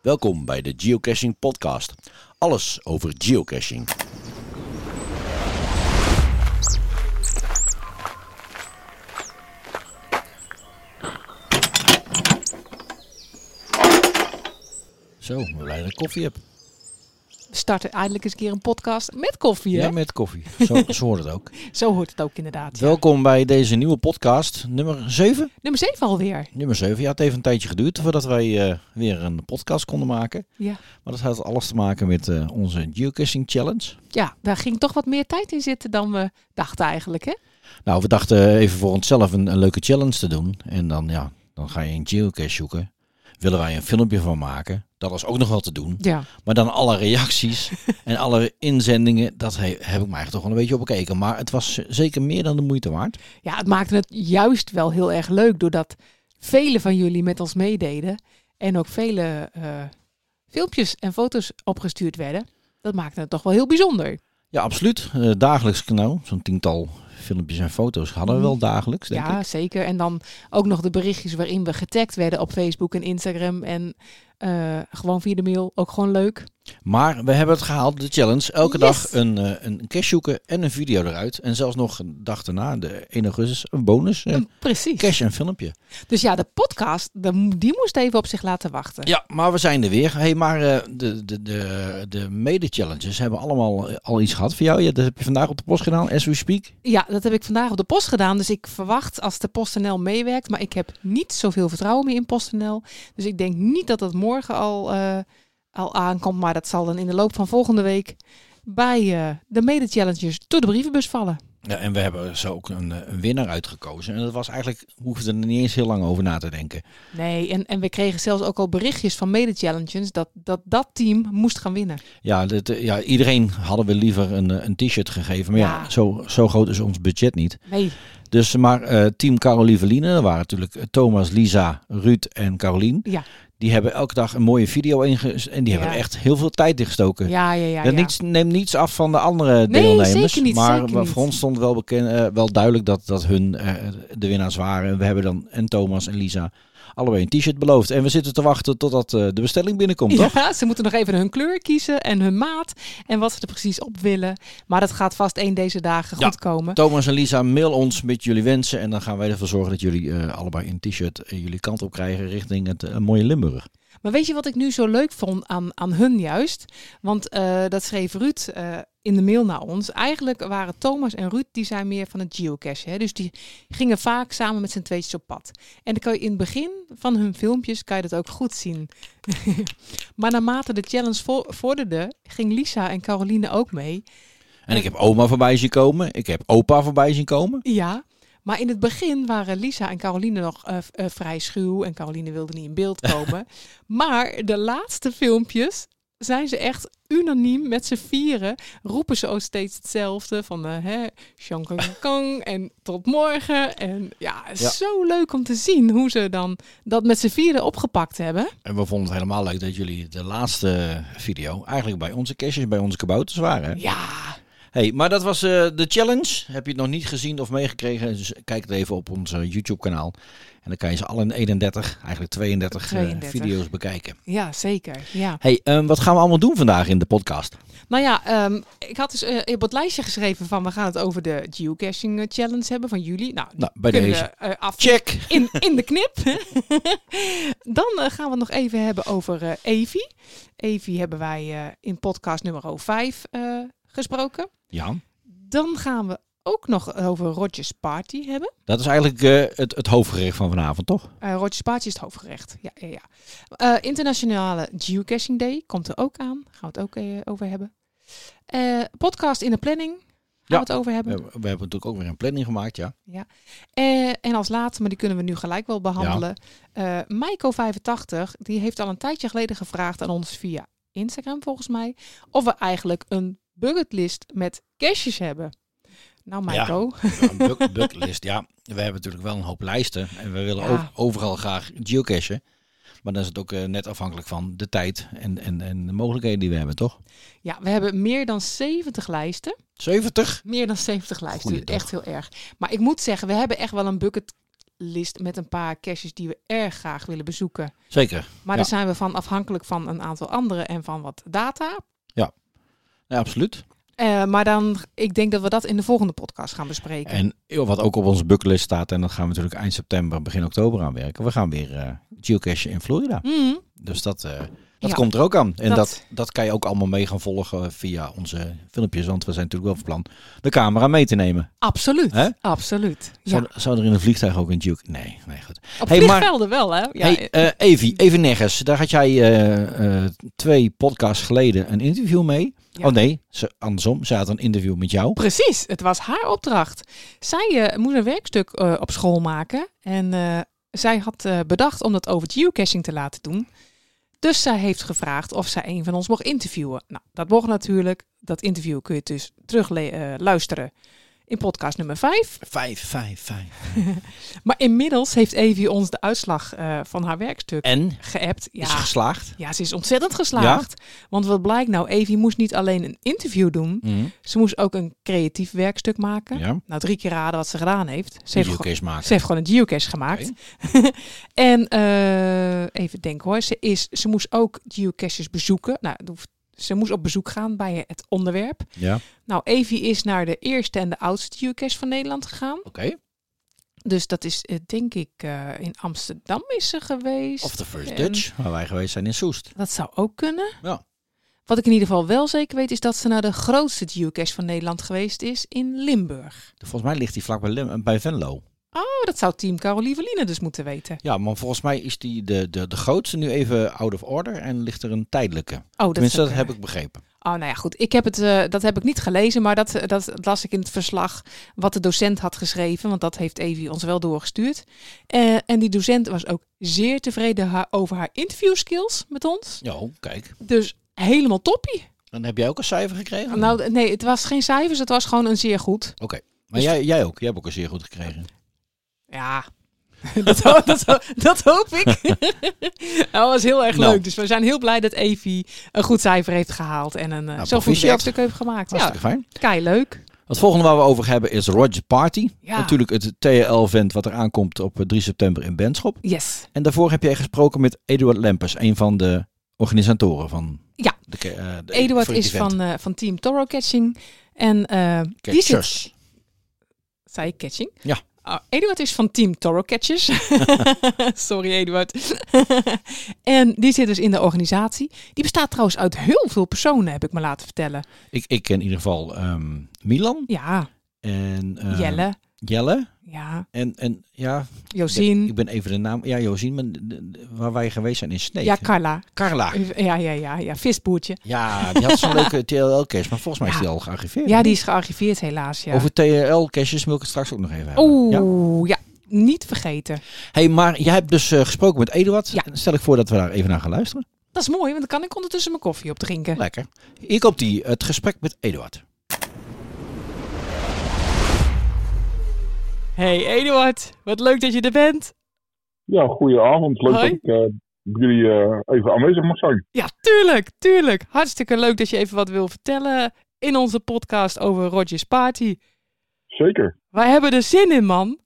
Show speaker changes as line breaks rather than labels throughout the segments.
Welkom bij de Geocaching Podcast. Alles over geocaching. Zo, ik ben blij dat ik koffie heb.
We starten eindelijk eens een keer een podcast met koffie.
Ja,
hè?
met koffie. Zo, zo hoort het ook.
Zo hoort het ook inderdaad. ja.
Welkom bij deze nieuwe podcast, nummer 7.
Nummer 7 alweer.
Nummer 7. Ja, het heeft een tijdje geduurd voordat wij eh, weer een podcast konden maken.
Ja.
Maar dat had alles te maken met eh, onze geocaching challenge.
ja, daar ging toch wat meer tijd in zitten dan we dachten eigenlijk. Hè?
Nou, we dachten even voor onszelf een, een leuke challenge te doen. En dan, ja, dan ga je een geocache zoeken. Willen wij een filmpje van maken? Dat was ook nog wel te doen.
Ja.
Maar dan alle reacties en alle inzendingen, dat he- heb ik me eigenlijk toch wel een beetje op bekeken. Maar het was zeker meer dan de moeite waard.
ja, het maakte het juist wel heel erg leuk doordat velen van jullie met ons meededen. En ook vele eh, filmpjes en foto's opgestuurd werden. Dat maakte het toch wel heel bijzonder.
Ja, absoluut. Eh, dagelijks nou, zo'n tiental filmpjes en foto's hadden we wel dagelijks, denk
Mhm. ja,
ik.
zeker. En dan ook nog de berichtjes waarin we getagd werden op Facebook en Instagram. En eh, gewoon via de mail. Ook gewoon leuk.
Maar we hebben het gehaald, de challenge. Elke
Yes.
dag een, eh, een cache zoeken en een video eruit. En zelfs nog een dag daarna, de 1 augustus, een bonus. eh,
Precies.
cache en filmpje.
Dus ja, de podcast, de- die moest even op zich laten wachten.
Ja, maar we zijn er weer. Hey, maar eh, de, de, de, de mede-challenges hebben allemaal eh, al iets gehad voor jou. Ja, dat heb je vandaag op de post gedaan, as we speak.
Ja, dat heb ik vandaag op de post gedaan. Dus ik verwacht als de PostNL meewerkt. Maar ik heb niet zoveel vertrouwen meer in PostNL. Dus ik denk niet dat dat morgen al, eh, al aankomt. Maar dat zal dan in de loop van volgende week bij eh, de mede-challengers door de brievenbus vallen.
Ja, en we hebben zo ook een, eh, een winnaar uitgekozen. En dat was eigenlijk, we hoefden er niet eens heel lang over na te denken.
Nee, en, en we kregen zelfs ook al berichtjes van mede-challengers dat, dat dat team moest gaan winnen.
Ja, dit, eh, ja iedereen hadden we liever een, eh, een t-shirt gegeven. Maar ja,
Ja.
zo, zo groot is ons budget niet.
Nee,
Dus maar eh, team Caroline Verline, dat waren natuurlijk eh, Thomas, Lisa, Ruud en Carolien.
ja, die,
Die hebben elke dag een mooie video inge... En die
Ja.
hebben er echt heel veel tijd in gestoken.
ja, ja. ja,
dat
ja.
niets, neemt niets af van de andere
Nee,
deelnemers.
zeker niet,
maar
zeker
wa-
niet.
voor ons stond wel, bekend, eh, wel duidelijk dat, dat hun eh, de winnaars waren. En we hebben dan en Thomas en Lisa allebei een t-shirt beloofd. En we zitten te wachten totdat eh, de bestelling binnenkomt, toch?
Ja, ze moeten nog even hun kleur kiezen en hun maat en wat ze er precies op willen. Maar dat gaat vast één deze dagen
Ja.
goed komen.
Thomas en Lisa, mail ons met jullie wensen. En dan gaan wij ervoor zorgen dat jullie eh, allebei een t-shirt eh, jullie kant op krijgen richting het eh, mooie Limburg.
Maar weet je wat ik nu zo leuk vond aan, aan hun juist? Want eh, dat schreef Ruud eh, in de mail naar ons. Eigenlijk waren Thomas en Ruud, die zijn meer van het geocache. Hè? Dus die gingen vaak samen met z'n tweetjes op pad. En dan kan je in het begin van hun filmpjes kan je dat ook goed zien. maar naarmate de challenge vo- vorderde, ging Lisa en Caroline ook mee.
En ik heb oma voorbij zien komen. Ik heb opa voorbij zien komen.
Ja, maar in het begin waren Lisa en Caroline nog eh, v- eh, vrij schuw en Caroline wilde niet in beeld komen. maar de laatste filmpjes zijn ze echt unaniem met z'n vieren. Roepen ze ook steeds hetzelfde van eh hè, Sean Kang Kang en tot morgen. En ja,
Ja.
zo leuk om te zien hoe ze dan dat met z'n vieren opgepakt hebben.
En we vonden het helemaal leuk dat jullie de laatste video eigenlijk bij onze caches, bij onze kabouters waren. hè?
Ja,
Hey, maar dat was eh, de challenge. Heb je het nog niet gezien of meegekregen? Dus kijk het even op ons eh, YouTube-kanaal. En dan kan je ze alle in 31, eigenlijk 32, eh,
32.
video's bekijken.
ja zeker. Ja.
Hey, ehm, wat gaan we allemaal doen vandaag in de podcast?
Nou ja, ehm, ik had dus eh, op het lijstje geschreven van we gaan het over de geocaching eh, challenge hebben van jullie. Nou,
Nou, bij
kunnen
deze.
we, eh, af-
Check!
In, in de knip. Dan eh, gaan we het nog even hebben over eh Evi. Evi hebben wij eh, in podcast nummer 5 eh, gesproken.
Ja,
Dan gaan we ook nog over Rogers Party hebben.
dat is eigenlijk eh, het, het hoofdgerecht van vanavond, toch?
Eh Rotjes Paatje is het hoofdgerecht. Ja, ja, ja. Eh, Internationale Geocaching Day komt er ook aan. Gaan we het ook eh, over hebben. Eh, podcast in de planning. Gaan
Ja.
we het over
We,
hebben.
hebben- we hebben natuurlijk ook weer een planning gemaakt, ja.
Eh, en als laatste, maar die kunnen we nu gelijk wel behandelen. Eh Maiko85, die heeft al een tijdje geleden gevraagd aan ons via Instagram volgens mij. Of we eigenlijk een bucketlist met caches hebben. Nou Maiko,
Een buck- bucketlist, ja. We hebben natuurlijk wel een hoop lijsten. En we willen
Ja.
ook overal graag geocachen. Maar dan is het ook eh, net afhankelijk van de tijd en, en, en de mogelijkheden die we hebben, toch?
ja, we hebben meer dan 70 lijsten.
70?
Meer dan 70 lijsten. dus
Goeiedag.
Echt heel erg. Maar ik moet zeggen, we hebben echt wel een bucket list met een paar caches die we erg graag willen bezoeken.
Zeker.
Maar
Ja.
daar zijn we van afhankelijk van een aantal anderen en van wat data.
Ja, absoluut.
Eh, maar dan, ik denk dat we dat in de volgende podcast gaan bespreken.
En joh, wat ook op onze bucketlist staat, en dat gaan we natuurlijk eind september, begin oktober aan werken. We gaan weer eh geocachen in Florida.
Mm,
Dus dat, eh, dat
Ja.
komt er ook aan. En
Dat-
dat... Dat, kan je ook allemaal mee gaan volgen via onze filmpjes. Want we zijn natuurlijk wel van plan de camera mee te nemen.
absoluut,
Hè?
absoluut. Ja.
Zou, zou er in een vliegtuig ook een geocache... Nee, nee, goed.
Op
Hey, maar-
vliegvelden wel, hè? Ja,
hey, eh, Evi, even nergens. Daar had jij eh, eh, twee podcasts geleden een interview mee.
Ja.
Oh nee, ze, andersom. Ze had een interview met jou.
Precies, het was haar opdracht. Zij eh, moest een werkstuk eh, op school maken. En eh, zij had eh, bedacht om dat over geocaching te laten doen. Dus zij heeft gevraagd of zij een van ons mocht interviewen. Nou, dat mocht natuurlijk. Dat interview kun je dus terug luisteren in podcast nummer 5.
Vijf, vijf, vijf.
Maar inmiddels heeft Evie ons de uitslag eh, van haar werkstuk
En?
geappt. Ja,
Is ze geslaagd?
ja, ze is ontzettend geslaagd. Want wat blijkt nou, Evie moest niet alleen een interview doen. Ze moest ook een creatief werkstuk maken.
Mhm, Ja.
Nou, drie keer raden wat ze gedaan heeft. Ze heeft, gewoon,
Videocase maken.
ze heeft gewoon een geocache gemaakt. en eh, even denken hoor. Ze, is, ze moest ook geocaches bezoeken. Nou, dat hoeft- ze moest op bezoek gaan bij het onderwerp.
Ja, oké.
Nou, Evie is naar de eerste en de oudste geocache van Nederland gegaan. Dus dat is, eh, denk ik, eh, in Amsterdam is ze geweest.
Of de First
En-
Dutch, waar wij geweest zijn in Soest.
Dat zou ook kunnen.
Ja.
Wat ik in ieder geval wel zeker weet, is dat ze naar de grootste geocache van Nederland geweest is in Limburg.
Volgens mij ligt die vlak bij, Lim- bij Venlo.
Oh, dat zou team Carolieveline dus moeten weten.
Ja, maar volgens mij is die de, de, de grootste nu even out of order en ligt er een tijdelijke.
Oh, dat
Tenminste,
zou
dat
kunnen.
heb ik begrepen.
Oh, nou ja, goed. Ik heb het, eh, dat heb ik niet gelezen, maar dat, eh, dat las ik in het verslag wat de docent had geschreven. Want dat heeft Evie ons wel doorgestuurd. Eh, en die docent was ook zeer tevreden ha- over haar interviewskills met ons.
Jo, oh, kijk.
Dus helemaal toppie.
Dan heb jij ook een cijfer gekregen?
Nou, d- nee, het was geen cijfers, het was gewoon een zeer goed.
Oké.
dus-
Maar jij, jij ook. Jij hebt ook een zeer goed gekregen.
Ja, dat, ho- dat, ho- dat hoop ik. dat was heel erg
Nou.
leuk. Dus we zijn heel blij dat Evie een goed cijfer heeft gehaald en een eh,
Nou,
zo'n goed
proficiat.
werkstuk heeft gemaakt. Ja,
Hartstikke fijn.
kei leuk.
Het volgende waar we over hebben is Roger Party.
Ja.
Natuurlijk het TL-event wat er aankomt op eh, 3 september in Benschop.
Yes.
En daarvoor heb jij gesproken met Eduard Lempers, een van de organisatoren van
Ja.
de, ke- eh, de-
Eduard
voor dit
is
event.
van, eh, van Team Toro Catching. En eh die zit...
Catchers.
Zei ik catching?
Ja.
Oh, Eduard is van Team Toro Catchers. Sorry, Eduard. en die zit dus in de organisatie. Die bestaat trouwens uit heel veel personen, heb ik me laten vertellen.
Ik, ik ken in ieder geval ehm, Milan
Ja,
en eh,
Jelle.
Jelle.
Ja,
En, en ja,
Josien.
ik ben even de naam. Ja, Josien, maar de- de- waar wij geweest zijn in Sneek.
ja, Hm. Carla.
Carla.
Ja, ja, ja, ja. Visboertje.
Ja, die had zo'n leuke TL-cache, maar volgens mij is die al gearchiveerd.
Ja, die is gearchiveerd helaas, ja.
Over TL-caches wil ik het straks ook nog even hebben. Ja.
Oeh, ja. Niet vergeten.
Hey, maar jij hebt dus eh, gesproken met Eduard.
Ja.
Stel ik voor dat we daar even naar gaan luisteren.
Dat is mooi, want dan kan ik ondertussen mijn koffie op drinken.
Lekker. Hier komt die, het gesprek met Eduard.
Hey Eduard, wat leuk dat je er bent.
Ja, goedenavond. Leuk
Hoi.
dat ik eh, bij jullie eh, even aanwezig mag zijn.
Ja, tuurlijk, tuurlijk. Hartstikke leuk dat je even wat wil vertellen in onze podcast over Rogers Party.
Zeker.
Wij hebben er zin in, man.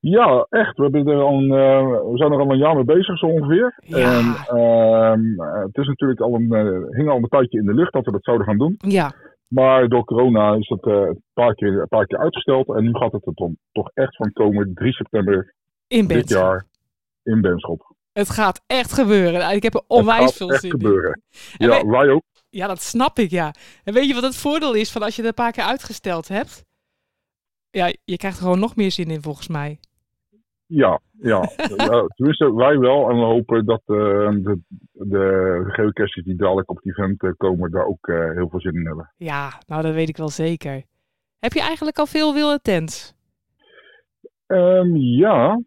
Ja, echt. We, hebben er al een, eh, we zijn er al een jaar mee bezig zo ongeveer.
Ja.
En, ehm, eh, het is natuurlijk al een, eh, hing al een tijdje in de lucht dat we dat zouden gaan doen.
Ja,
Maar door corona is dat eh, een, paar keer, een paar keer uitgesteld. En nu gaat het er dan toch echt van komen 3 september
in
dit
bed.
jaar in Benschop.
Het gaat echt gebeuren. Nou, Ik heb er
Het
onwijs
gaat
veel
echt
zin
gebeuren.
En
Ja,
wij-
wij ook.
in. Ja, dat snap ik, ja. En weet je wat het voordeel is van als je het een paar keer uitgesteld hebt? Ja, je krijgt er gewoon nog meer zin in, volgens mij.
Ja, ja. Ja, tenminste, wij wel. En we hopen dat eh, de, de geocaches die dadelijk op het event eh, komen, daar ook eh, heel veel zin in hebben.
Ja, nou dat weet ik wel zeker. Heb je eigenlijk al veel wilde tents?
Ehm, ja,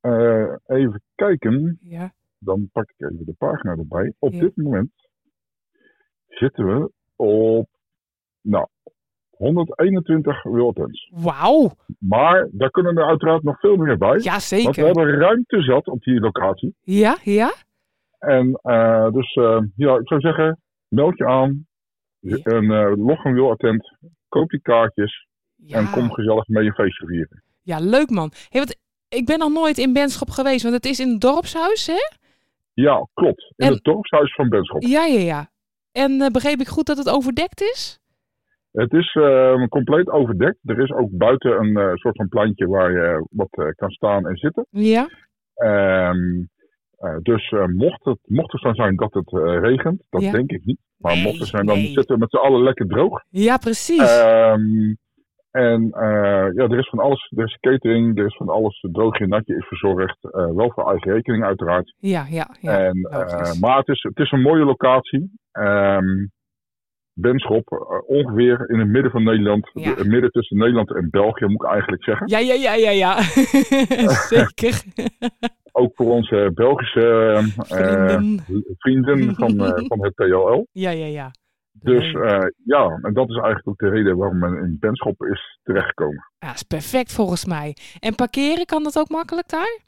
Eh, even kijken.
Ja.
Dan pak ik even de pagina erbij. Op
Ja.
dit moment zitten we op, nou, 121 wildtents.
Wauw.
Maar daar kunnen er uiteraard nog veel meer bij.
Ja,
Want we
zeker.
hebben ruimte zat op die locatie.
Ja, ja.
En eh, dus eh, ja, ik zou zeggen, meld je aan.
Ja.
En eh log een wil attent. Koop die kaartjes
ja.
en kom gezellig mee een feestje vieren.
Ja, leuk man. Hey, wat, ik ben nog nooit in Benschop geweest, want het is in het dorpshuis, hè?
Ja, klopt. In
En-
het dorpshuis van Benschop.
Ja, ja, ja. En eh, begreep ik goed dat het overdekt is?
Het is eh, compleet overdekt. Er is ook buiten een eh, soort van plantje waar je wat eh, kan staan en zitten.
Ja.
Ehm, eh, dus eh, mocht, het, mocht het zo zijn dat het eh, regent, dat
Ja.
denk ik niet. Maar
Nee,
mocht het zijn, dan
nee.
zitten we met z'n allen lekker droog.
Ja, precies.
Ehm, en eh, ja, er is van alles. Er is catering, er is van alles. Droogje en natje is verzorgd. eh, wel voor eigen rekening uiteraard.
ja, ja, ja. Nou,
en,
logisch.
eh, maar het is, het is een mooie locatie. Ehm Benschop, eh, ongeveer in het midden van Nederland.
Ja.
de- midden tussen Nederland en België moet ik eigenlijk zeggen.
Ja, ja, ja, ja, ja. Zeker.
Ook voor onze Belgische eh,
Vrienden.
vrienden van, eh, van het TLL.
Ja, ja, ja.
Dus
Leuk.
eh, ja, en dat is eigenlijk ook de reden waarom men in Benschop is terechtgekomen.
Ja, is perfect volgens mij. En parkeren kan dat ook makkelijk daar?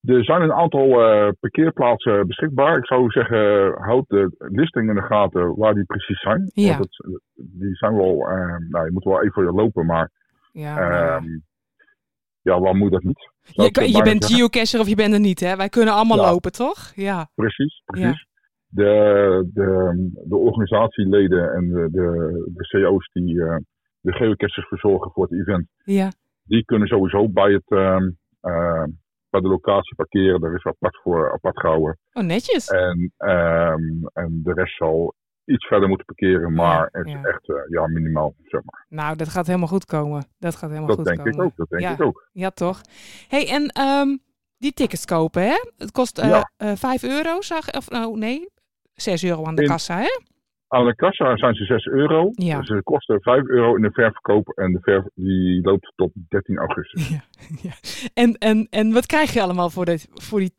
Er zijn een aantal eh, parkeerplaatsen beschikbaar. Ik zou zeggen, houd de listing in de gaten waar die precies zijn.
Ja.
Want het, die zijn wel, eh, nou je moet wel even lopen, maar
Ja.
ehm,
maar ja.
ja, waar moet dat niet?
Je,
Zou ik
kan- je
bijna
bent
zeggen.
geocacher of je bent er niet, hè? Wij kunnen allemaal
Ja.
lopen, toch? Ja.
Precies, precies. De, de, de organisatieleden en de, de, de CO's die eh, de geocachers verzorgen voor het event,
Ja.
die kunnen sowieso bij, het, ehm, eh, bij de locatie parkeren. Daar is apart voor apart gehouden.
Oh, netjes.
En, ehm, en de rest zal iets verder moeten parkeren, maar
Ja,
het is
ja.
echt eh, ja, minimaal. Zeg maar.
nou, dat gaat helemaal goed komen. Dat gaat helemaal
Dat
goed
denk
komen.
ik ook. Dat denk
Ja.
ik ook.
Ja, toch? hey, en ehm, die tickets kopen, hè? Het kost eh
Ja.
eh, 5 euro, zag Of nou, nee, 6 euro aan de
In-
kassa, hè?
Aan de kassa zijn ze 6 euro. Dus
Ja.
Ze kosten 5 euro in de ververkoop en de verf die loopt tot 13 augustus.
Ja. ja. En, en, en wat krijg je allemaal voor, dit, voor die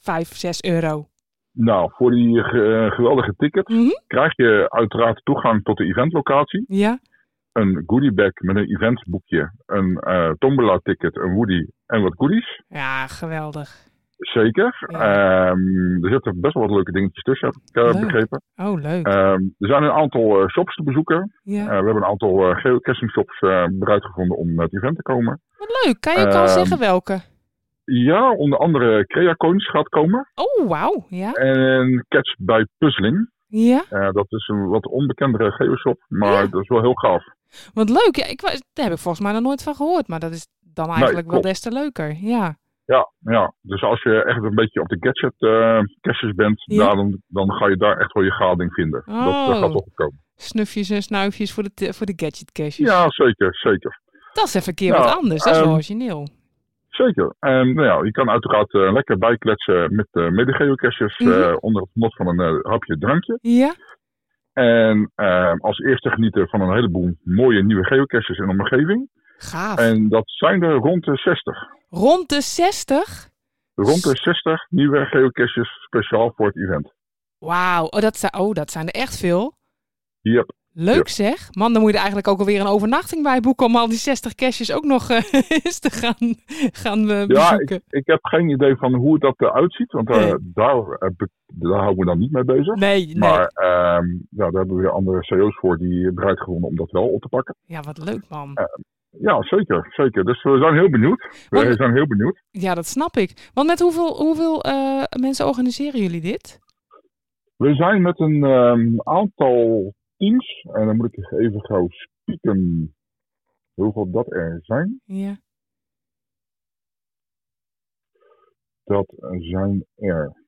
5, 6 euro?
Nou, voor die eh, geweldige ticket
Mhm.
krijg je uiteraard toegang tot de eventlocatie.
Ja?
Een goodiebag met een eventboekje, een eh tombola ticket, een woody en wat goodies.
Ja, geweldig.
Zeker. Ehm, er zitten best wel wat leuke dingetjes tussen, heb ik eh,
Leuk.
begrepen.
Oh, leuk.
Ehm, er zijn een aantal eh, shops te bezoeken. Eh,
ja.
we hebben een aantal eh geocaching shops eh, bereid gevonden om naar het event te komen.
Wat leuk. Kan je ook al
ehm,
zeggen welke?
Ja, onder andere Crea Coins gaat komen.
Oh, wauw. Ja?
En Catch bij Puzzling.
Ja?
Eh, dat is een wat onbekendere geoshop, maar
Ja.
dat is wel heel gaaf.
Wat leuk. Ja, ik, wa- daar heb ik volgens mij nog nooit van gehoord. Maar dat is dan eigenlijk wel
klopt.
des te leuker. Ja.
Ja, ja, dus als je echt een beetje op de gadget eh caches bent,
Ja.
daar dan, dan ga je daar echt wel je gading vinden. Dat, dat
Oh.
gaat toch komen.
Snufjes en snuifjes voor de, t- voor de gadget caches.
Ja, zeker, zeker.
Dat is even een keer
Nou,
wat anders. Dat is
ehm,
wel origineel.
Zeker. En nou ja, je kan uiteraard eh, lekker bijkletsen met eh mede-geocaches eh,
Mhm.
onder het mot van een eh, hapje drankje.
Ja?
En ehm, als eerste genieten van een heleboel mooie nieuwe geocaches in de omgeving.
Gaaf.
En dat zijn er rond de 60.
Rond de 60?
Rond de 60 nieuwe geocaches speciaal voor het event.
Wauw. Oh, dat zijn, oh, dat zijn er echt veel.
Yep.
Leuk zeg. Man, dan moet je er eigenlijk ook alweer een overnachting bij boeken om al die 60 cashjes ook nog eh, eens te gaan, gaan eh,
Ja,
bezoeken.
Ik heb geen idee van hoe dat eruit ziet, want eh,
Nee.
daar, eh, be- daar houden we dan niet mee bezig.
Nee, nee.
Maar ehm, ja, daar hebben we weer andere CO's voor die bereid gewonnen om dat wel op te pakken.
Ja, wat leuk man.
Ja, zeker, zeker. Dus we zijn heel benieuwd. We
Want-
zijn heel benieuwd.
Ja, dat snap ik. Want met hoeveel, hoeveel eh, mensen organiseren jullie dit?
We zijn met een ehm, aantal teams, en dan moet ik even gauw spieken hoeveel dat er zijn.
Ja.
Dat zijn er.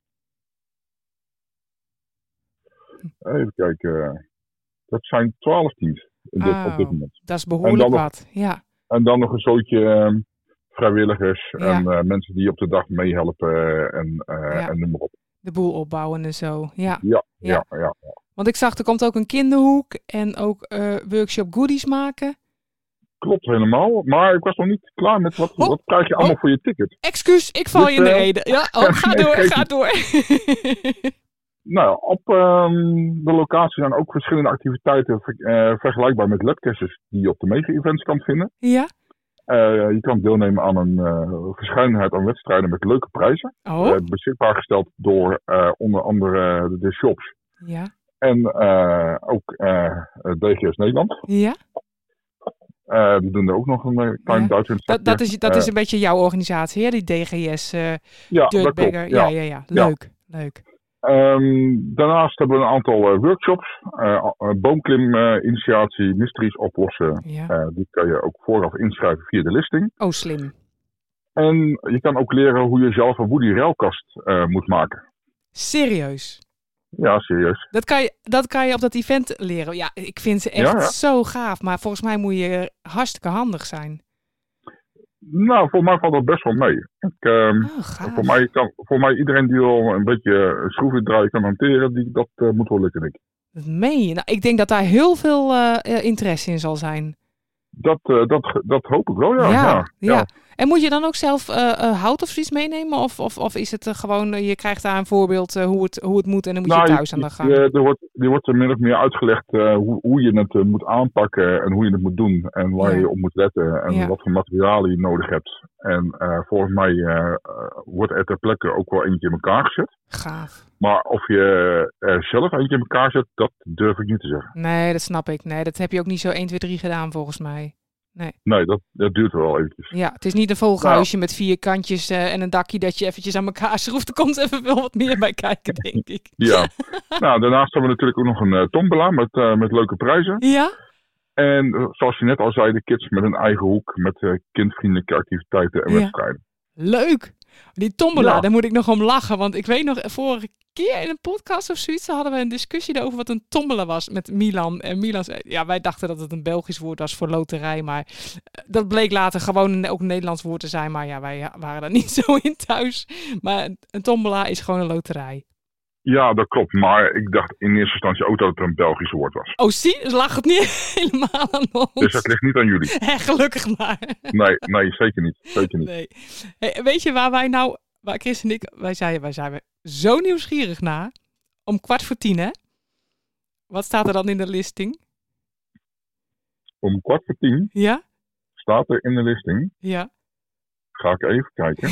Even kijken. Dat zijn 12 teams in dit, op dit
Oh.
moment.
Dat is behoorlijk
En dan
wat. Ja.
En dan nog een zootje ehm, vrijwilligers
Ja.
en eh, mensen die op de dag meehelpen en, eh
Ja.
en noem maar op.
De boel opbouwen en zo. Ja. Ja.
Ja, ja, ja.
Want ik zag, er komt ook een kinderhoek en ook eh, workshop goodies maken.
Klopt helemaal. Maar ik was nog niet klaar met wat,
Oh.
wat krijg je allemaal voor je ticket.
Excuus, ik val je in de
Dus, eh,
reden. Ja, oh, ga
nee,
door,
geef
ga
niet.
door.
Nou, ja, op ehm, de locatie zijn ook verschillende activiteiten ver- eh, vergelijkbaar met labcaches die je op de mega-events kan vinden.
ja?
Eh, je kan deelnemen aan een eh, verscheidenheid aan wedstrijden met leuke prijzen.
Oh,
Eh, beschikbaar gesteld door eh, onder andere de shops
ja.
en eh, ook eh, DGS Nederland.
Ja?
Eh, we doen er ook nog een eh, klein
Ja.
Duits
Dat, dat, is, dat is een beetje jouw organisatie, hè? die DGS eh
ja, dat klopt,
Dirtbagger. Ja, ja, ja.
Ja.
Leuk, leuk.
Ehm, daarnaast hebben we een aantal eh, workshops, eh boomkliminitiatie, mysteries oplossen.
Ja.
Eh, die kan je ook vooraf inschrijven via de listing.
Oh, slim.
En je kan ook leren hoe je zelf een Woody Railkast eh, moet maken.
Serieus.
Ja, serieus.
Dat kan, je, dat kan je op dat event leren. Ja, ik vind ze echt
Ja, ja.
zo gaaf. Maar volgens mij moet je hartstikke handig zijn.
Nou, voor mij valt dat best wel mee. Ik, ehm,
Oh, gaaf.
voor, mij kan, voor mij iedereen die al een beetje schroeven draaien kan hanteren, die, dat eh, moet wel lukken, denk ik.
Dat meen je. Nou, ik denk dat daar heel veel eh, eh, interesse in zal zijn.
Dat, eh, dat, ge- dat hoop ik wel, ja.
ja,
ja.
ja. En moet je dan ook zelf eh, eh, hout of zoiets meenemen? Of, of, of is het eh, gewoon, eh, je krijgt daar een voorbeeld eh, hoe, het, hoe het moet en dan moet
Nou,
je thuis aan de
je-
gang?
je- er, wordt, er wordt er min of meer uitgelegd eh, hoe, hoe je het eh, moet aanpakken en hoe je het moet doen. En waar
Ja.
je op moet letten en
Ja.
wat voor materialen je nodig hebt. En eh, volgens mij eh, eh, wordt er ter plekke ook wel eentje in elkaar gezet.
Gaaf.
Maar of je eh, er zelf eentje in elkaar zet, dat durf ik niet te zeggen.
Nee, dat snap ik. Nee, dat heb je ook niet zo 1, 2, 3 gedaan volgens mij.
Nee, dat, dat duurt wel eventjes.
Ja, het is niet een vogelhuisje
Nou.
met vier kantjes eh, en een dakje dat je eventjes aan elkaar schroeft. Er komt even wel wat meer bij kijken, denk ik.
Ja. nou, daarnaast hebben we natuurlijk ook nog een eh, tombola met, eh, met leuke prijzen.
Ja?
En eh, zoals je net al zei, de kids met een eigen hoek, met eh, kindvriendelijke activiteiten en
Ja.
wedstrijden.
Leuk. Die tombola,
Ja.
daar moet ik nog om lachen. Want ik weet nog, vorige keer in een podcast of zoiets hadden we een discussie over wat een tombola was met Milan. En Milan zei, ja, wij dachten dat het een Belgisch woord was voor loterij. Maar eh, dat bleek later gewoon een, ook een Nederlands woord te zijn. Maar ja, wij eh, waren daar niet zo in thuis. Maar een- een tombola is gewoon een loterij.
Ja, dat klopt. Maar ik dacht in eerste instantie ook dat het een Belgisch woord was.
Oh, zie, dus lag het niet helemaal aan ons.
Dus dat ligt niet aan jullie.
Hé, gelukkig maar.
Nee, nee zeker niet. Zeker niet.
Nee. Hey, weet je waar wij nou, waar Chris en ik, wij zijn, wij zijn zo nieuwsgierig naar. Om kwart voor tien, hè? Wat staat er dan in de listing?
Om kwart voor tien
Ja?
staat er in de listing.
Ja.
Ga ik even kijken.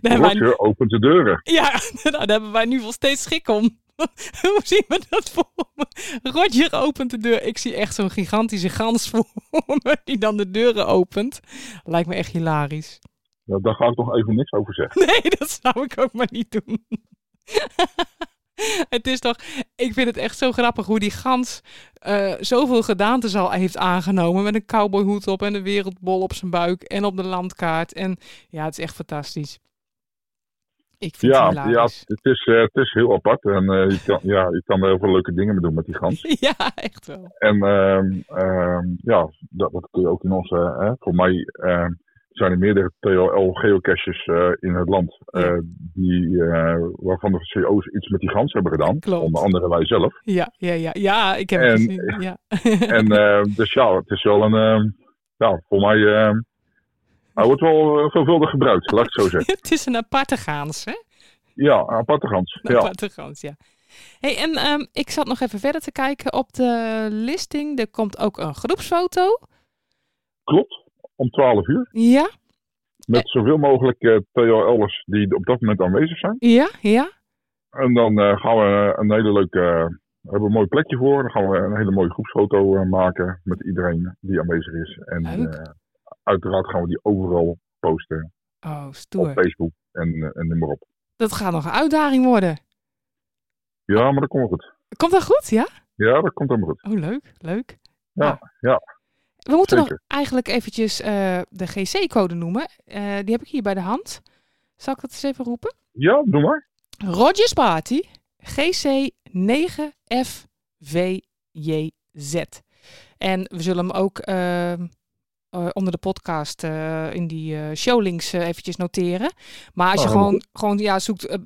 Daar hebben wij,
Roger opent de deuren.
ja, nou, daar hebben wij nu wel steeds schik om. Hoe zien we dat voor me? Roger opent de deur. Ik zie echt zo'n gigantische gans voor me die dan de deuren opent. Lijkt me echt hilarisch.
Ja, daar ga ik nog even niks over zeggen.
Nee, dat zou ik ook maar niet doen. het is toch, ik vind het echt zo grappig hoe die gans eh, zoveel gedaante zal heeft aangenomen. Met een cowboyhoed op en een wereldbol op zijn buik en op de landkaart. En ja, het is echt fantastisch. Ik vind het
Ja, ja
hilarisch.
het, is, eh, het is heel apart. En eh, je, kan, ja, je kan er heel veel leuke dingen mee doen met die gans.
Ja. echt wel.
En ehm, ehm, ja, dat, dat kun je ook in onze... eh, voor mij ehm, zijn er meerdere TLL-geocaches eh, in het land... eh, die, eh, waarvan de CO's iets met die gans hebben gedaan.
Klopt.
Onder andere wij zelf.
Ja, ja, ja, ja, ik heb
En-
het gezien. Ja.
En eh, dus ja, het is wel een. ehm, ja, voor mij. ehm, hij wordt wel eh, veelvuldig gebruikt, laat ik het zo zeggen.
het is een aparte gaans, hè?
Ja, een aparte gans.
Een
Ja.
aparte gans, ja. Hey, en ehm, ik zat nog even verder te kijken op de listing. Er komt ook een groepsfoto.
Klopt, om 12 uur.
Ja,
Met zoveel mogelijk eh TLL'ers die op dat moment aanwezig zijn.
ja, ja.
En dan eh, gaan we een hele leuke. eh, we hebben een mooi plekje voor. Dan gaan we een hele mooie groepsfoto eh, maken met iedereen die aanwezig is. En
Leuk.
eh, uiteraard gaan we die overal posten
Oh,
op
stoer.
Facebook en, eh, en noem maar op.
Dat gaat nog een uitdaging worden.
Ja, maar dat komt wel goed.
Komt dat goed, ja?
Ja, dat komt helemaal goed.
Oh, leuk, leuk.
Ja,
Nou,
ja.
We moeten nog
Zeker.
eigenlijk eventjes eh, de GC-code noemen. Eh, die heb ik hier bij de hand. Zal ik dat eens even roepen?
Ja, doe maar.
Rogers Party, GC9FVJZ. En we zullen hem ook eh, eh, onder de podcast eh, in die eh, showlinks eh, eventjes noteren. Maar als je
Oh,
gewoon, gewoon ja, zoekt eh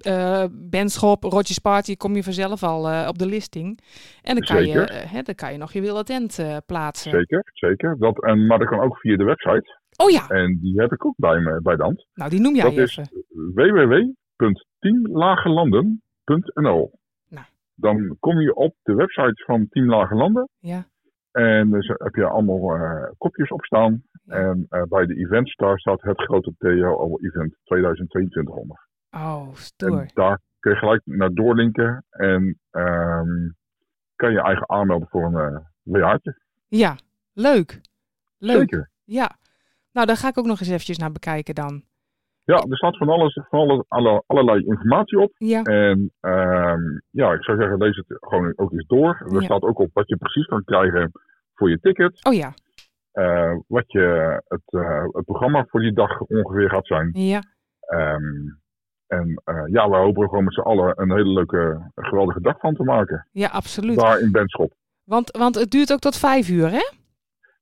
eh, Benschop, Rogers Party, kom je vanzelf al eh, op de listing. En dan kan, je,
Zeker.
eh, hè, dan kan je nog je wilde tent eh, plaatsen.
Zeker, zeker. Dat, en, maar dat kan ook via de website.
Oh ja,
En die heb ik ook bij, me, bij de hand.
nou die noem jij
dat
even.
is www.teamlagelanden.nl
Nou.
Dan kom je op de website van Team Lage Landen.
Ja.
En dus heb je allemaal eh, kopjes op staan.
Ja.
En eh, bij de events daar staat het grote TLL Event 2022 onder.
Oh, stoer.
En daar kun je gelijk naar doorlinken. En ehm, kan je eigen aanmelden voor een eh WH'tje.
Ja, Leuk. Leuk.
Zeker.
Ja. Nou, daar ga ik ook nog eens eventjes naar bekijken dan.
Ja, er staat van alles, van alles alle, allerlei informatie op.
Ja.
En ehm, ja, ik zou zeggen, lees het gewoon ook eens door. Er
Ja.
staat ook op wat je precies kan krijgen voor je ticket.
Oh ja.
eh, wat je, het, eh, het programma voor die dag ongeveer gaat zijn.
Ja.
Ehm, en eh, ja, we hopen er gewoon met z'n allen een hele leuke, geweldige dag van te maken.
Ja, absoluut.
Daar in Benschop.
Want, want het duurt ook tot vijf uur, hè?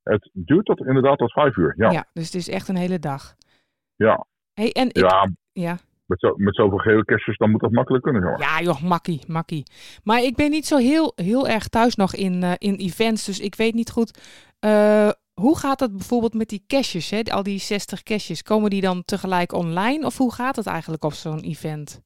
Het duurt tot inderdaad tot vijf uur. Ja, ja.
Dus het is echt een hele dag.
Ja.
Hey, en ik, ja.
met, zo, met zoveel geocaches dan moet dat makkelijk kunnen. Jongen.
Ja, joh, makkie, makkie. Maar ik ben niet zo heel, heel erg thuis nog in, eh, in events, dus ik weet niet goed. eh, hoe gaat dat bijvoorbeeld met die caches, hè? al die 60 caches? Komen die dan tegelijk online of hoe gaat het eigenlijk op zo'n event?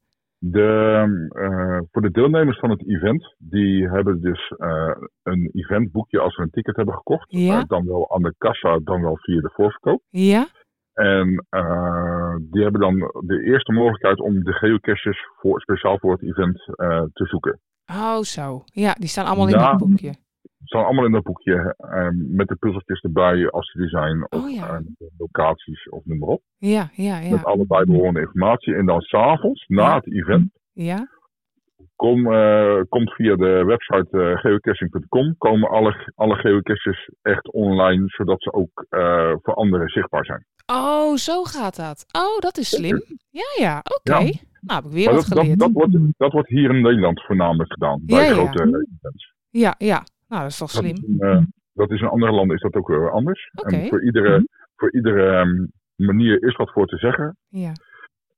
De, eh, voor de deelnemers van het event, die hebben dus eh, een eventboekje als ze een ticket hebben gekocht.
Ja.
Eh, dan wel aan de kassa, dan wel via de voorverkoop.
Ja?
En eh, die hebben dan de eerste mogelijkheid om de geocaches voor, speciaal voor het event eh, te zoeken.
Oh, zo. Ja, die staan allemaal in
Ja.
dat boekje.
Het staan allemaal in dat boekje eh, met de puzzeltjes erbij als ze die zijn. Of
Oh, ja.
eh, de locaties of noem maar op.
Ja, ja,
Met
ja.
alle bijbehorende informatie. En dan s'avonds,
Ja.
na het event,
Ja?
kom, eh, komt via de website eh, geocaching.com komen alle, alle geocaches echt online, zodat ze ook eh, voor anderen zichtbaar zijn.
Oh, zo gaat dat. Oh, dat is slim. Ja, ja, oké.
Ja.
Nou, heb ik weer
Maar
wat
dat, dat,
geleerd.
dat, wordt, dat wordt hier in Nederland voornamelijk gedaan, bij
Ja, ja.
grote events.
Ja, ja. Nou, dat is toch
Dat is,
slim.
in, eh, dat is in andere landen is dat ook weer anders.
Oké. Mhm.
En voor iedere, voor iedere ehm, manier is wat voor te zeggen.
Ja.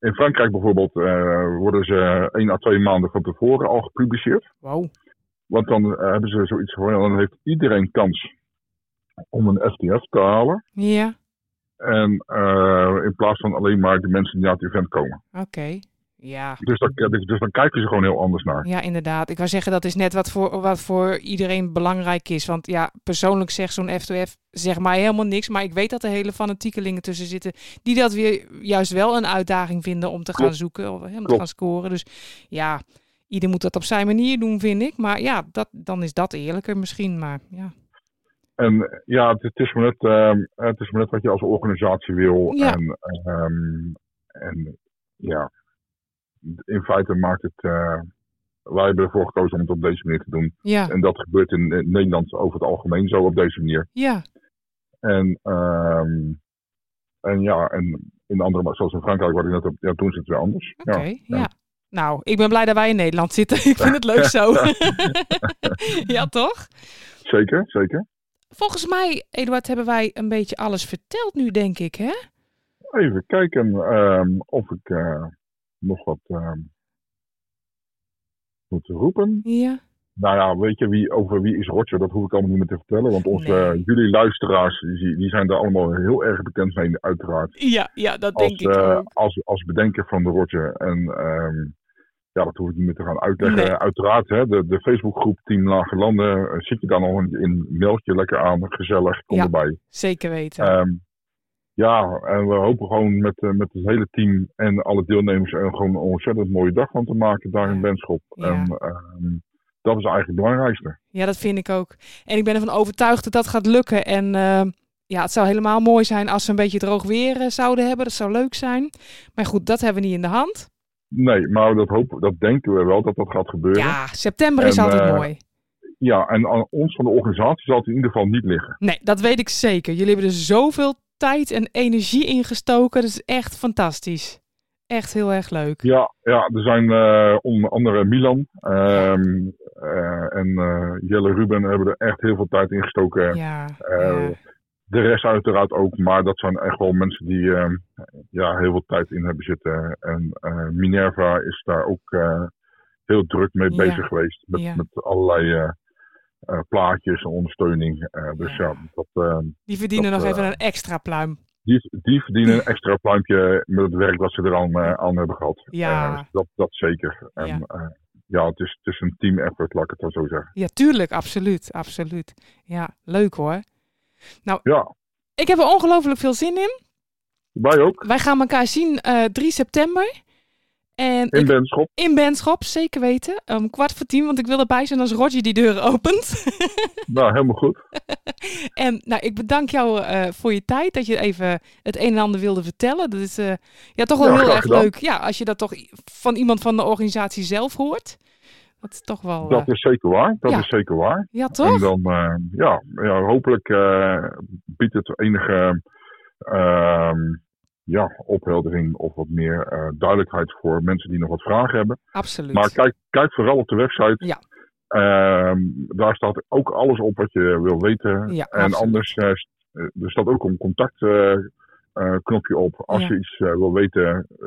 In Frankrijk bijvoorbeeld eh, worden ze één à twee maanden van tevoren al gepubliceerd.
Wow.
Want dan eh, hebben ze zoiets van, ja, dan heeft iedereen kans om een FTF te halen.
Ja,
En eh, in plaats van alleen maar de mensen die naar het event komen.
oké. Ja.
Dus, dan dus, dus dan kijken ze gewoon heel anders naar.
Ja, inderdaad. Ik wou zeggen, dat is net wat voor, wat voor iedereen belangrijk is. Want ja, persoonlijk zegt zo'n F2F zeg maar helemaal niks. Maar ik weet dat er hele fanatiekelingen tussen zitten. Die dat weer juist wel een uitdaging vinden om te gaan
Klopt.
zoeken. Of, hè, om te
Klopt.
gaan scoren. Dus ja, ieder moet dat op zijn manier doen, vind ik. Maar ja, dat, dan is dat eerlijker misschien. Maar ja,
En eh, ja, het, het is maar net, ehm, het is maar net wat je als organisatie wil.
Ja.
En, ehm, en ja, in feite maakt het... eh, wij hebben ervoor gekozen om het op deze manier te doen.
ja,
En dat gebeurt in, in Nederland over het algemeen zo op deze manier.
ja,
En, ehm, en ja, en in andere, maar zoals in Frankrijk, waar ik net op, ja, toen is het weer anders.
oké.
Ja.
ja. Nou, ik ben blij dat wij in Nederland zitten. Ik vind het leuk zo. ja, toch?
Zeker, zeker.
Volgens mij, Eduard, hebben wij een beetje alles verteld nu, denk ik, hè?
Even kijken ehm, of ik eh, nog wat ehm, moet roepen.
Ja.
Nou ja, weet je, wie, over wie is Roger, dat hoef ik allemaal niet meer te vertellen. Want onze,
Nee.
eh, jullie luisteraars, die, die zijn daar allemaal heel erg bekend mee, uiteraard.
Ja, ja, dat
Als,
denk ik
eh,
ook.
als, als bedenker van de Roger. En ehm, ja, dat hoef ik niet meer te gaan uitleggen.
Nee.
Uiteraard, hè, de, de Facebookgroep Team Lage Landen. eh, zit je daar nog in? Meld je lekker aan. Gezellig, kom
Ja.
erbij.
Zeker weten.
Ehm, ja, en we hopen gewoon met, eh, met het hele team en alle deelnemers er gewoon een ontzettend mooie dag van te maken daar in Benschop.
Ja.
En ehm, dat is eigenlijk het belangrijkste.
ja, dat vind ik ook. En ik ben ervan overtuigd dat dat gaat lukken. En eh, ja, het zou helemaal mooi zijn als ze een beetje droog weer eh, zouden hebben. Dat zou leuk zijn. Maar goed, dat hebben we niet in de hand.
Nee, maar dat, hopen, dat denken we wel dat dat gaat gebeuren.
Ja, september is
En,
altijd
eh,
mooi.
Ja, en aan ons van de organisatie zal het in ieder geval niet liggen.
Nee, dat weet ik zeker. Jullie hebben er zoveel tijd en energie in gestoken. Dat is echt fantastisch. Echt heel erg leuk.
Ja, ja er zijn eh, onder andere Milan ehm, eh, en eh, Jelle Ruben hebben er echt heel veel tijd in gestoken.
Ja,
eh,
ja.
De rest uiteraard ook, maar dat zijn echt wel mensen die ehm, ja, heel veel tijd in hebben zitten. En eh, Minerva is daar ook eh, heel druk mee
Ja.
bezig geweest met,
Ja.
met allerlei eh, eh, plaatjes en ondersteuning. Eh, dus
Ja.
ja, dat, ehm,
die verdienen
dat,
nog
eh,
even een extra pluim.
die, die verdienen een extra pluimpje met het werk wat ze er aan, eh, aan hebben gehad.
Ja.
Eh, dat, dat zeker. En,
Ja.
ja, ja het, is, het is een team effort, laat ik het dan zo zeggen.
Ja, tuurlijk, absoluut, absoluut. Ja, leuk hoor.
Ja,
Ik heb er ongelooflijk veel zin in.
wij ook.
Wij gaan elkaar zien eh 3 september. En
In
ik-
Benschop.
in Benschop, zeker weten. Om kwart voor tien, want ik wil erbij zijn als Roger die deuren opent.
Nou, helemaal goed.
En nou, ik bedank jou eh, voor je tijd, dat je even het een en ander wilde vertellen. Dat is eh, ja, toch wel
Ja,
heel
graag
erg
gedaan.
leuk. Ja, als je dat toch i- van iemand van de organisatie zelf hoort. Dat is toch wel... eh,
Dat is zeker waar. Dat
Ja.
is zeker waar.
ja, toch?
En dan, eh, ja, ja, hopelijk eh, biedt het enige ehm, ja, opheldering of wat meer eh, duidelijkheid voor mensen die nog wat vragen hebben.
Absoluut.
Maar kijk, kijk vooral op de website.
Ja.
Ehm, daar staat ook alles op wat je wil weten.
Ja,
en
absoluut.
anders, eh, st- eh, er staat ook een contactknopje knopje op. Als
Ja.
je iets eh, wil weten, eh,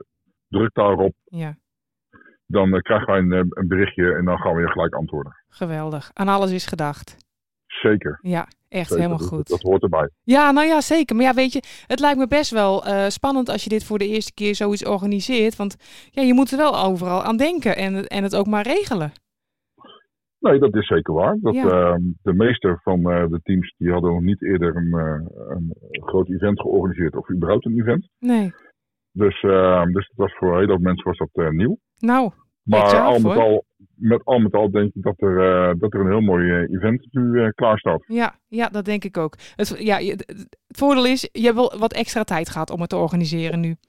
druk daarop.
Ja,
Dan eh, krijgen wij een, eh, een berichtje en dan gaan we je gelijk antwoorden.
geweldig. Aan alles is gedacht.
Zeker.
Ja, echt
zeker.
helemaal
Dat-
goed.
Dat hoort erbij.
Ja, nou ja, zeker. Maar ja, weet je, het lijkt me best wel eh, spannend als je dit voor de eerste keer zoiets organiseert. Want ja, je moet er wel overal aan denken en, en het ook maar regelen.
Nee, dat is zeker waar. Dat,
Ja.
ehm, de meeste van eh, de teams die hadden nog niet eerder een, eh, een groot event georganiseerd of überhaupt een event.
Nee.
Dus, ehm, dus dat was voor heel veel mensen was dat eh, nieuw.
Nou,
Maar
Exact,
al, met
hoor.
al, met al met al denk ik dat er, eh, dat er een heel mooi eh, event nu eh klaar staat.
ja, ja dat denk ik ook. Het, ja, je- het voordeel is, je hebt wel wat extra tijd gehad om het te organiseren nu.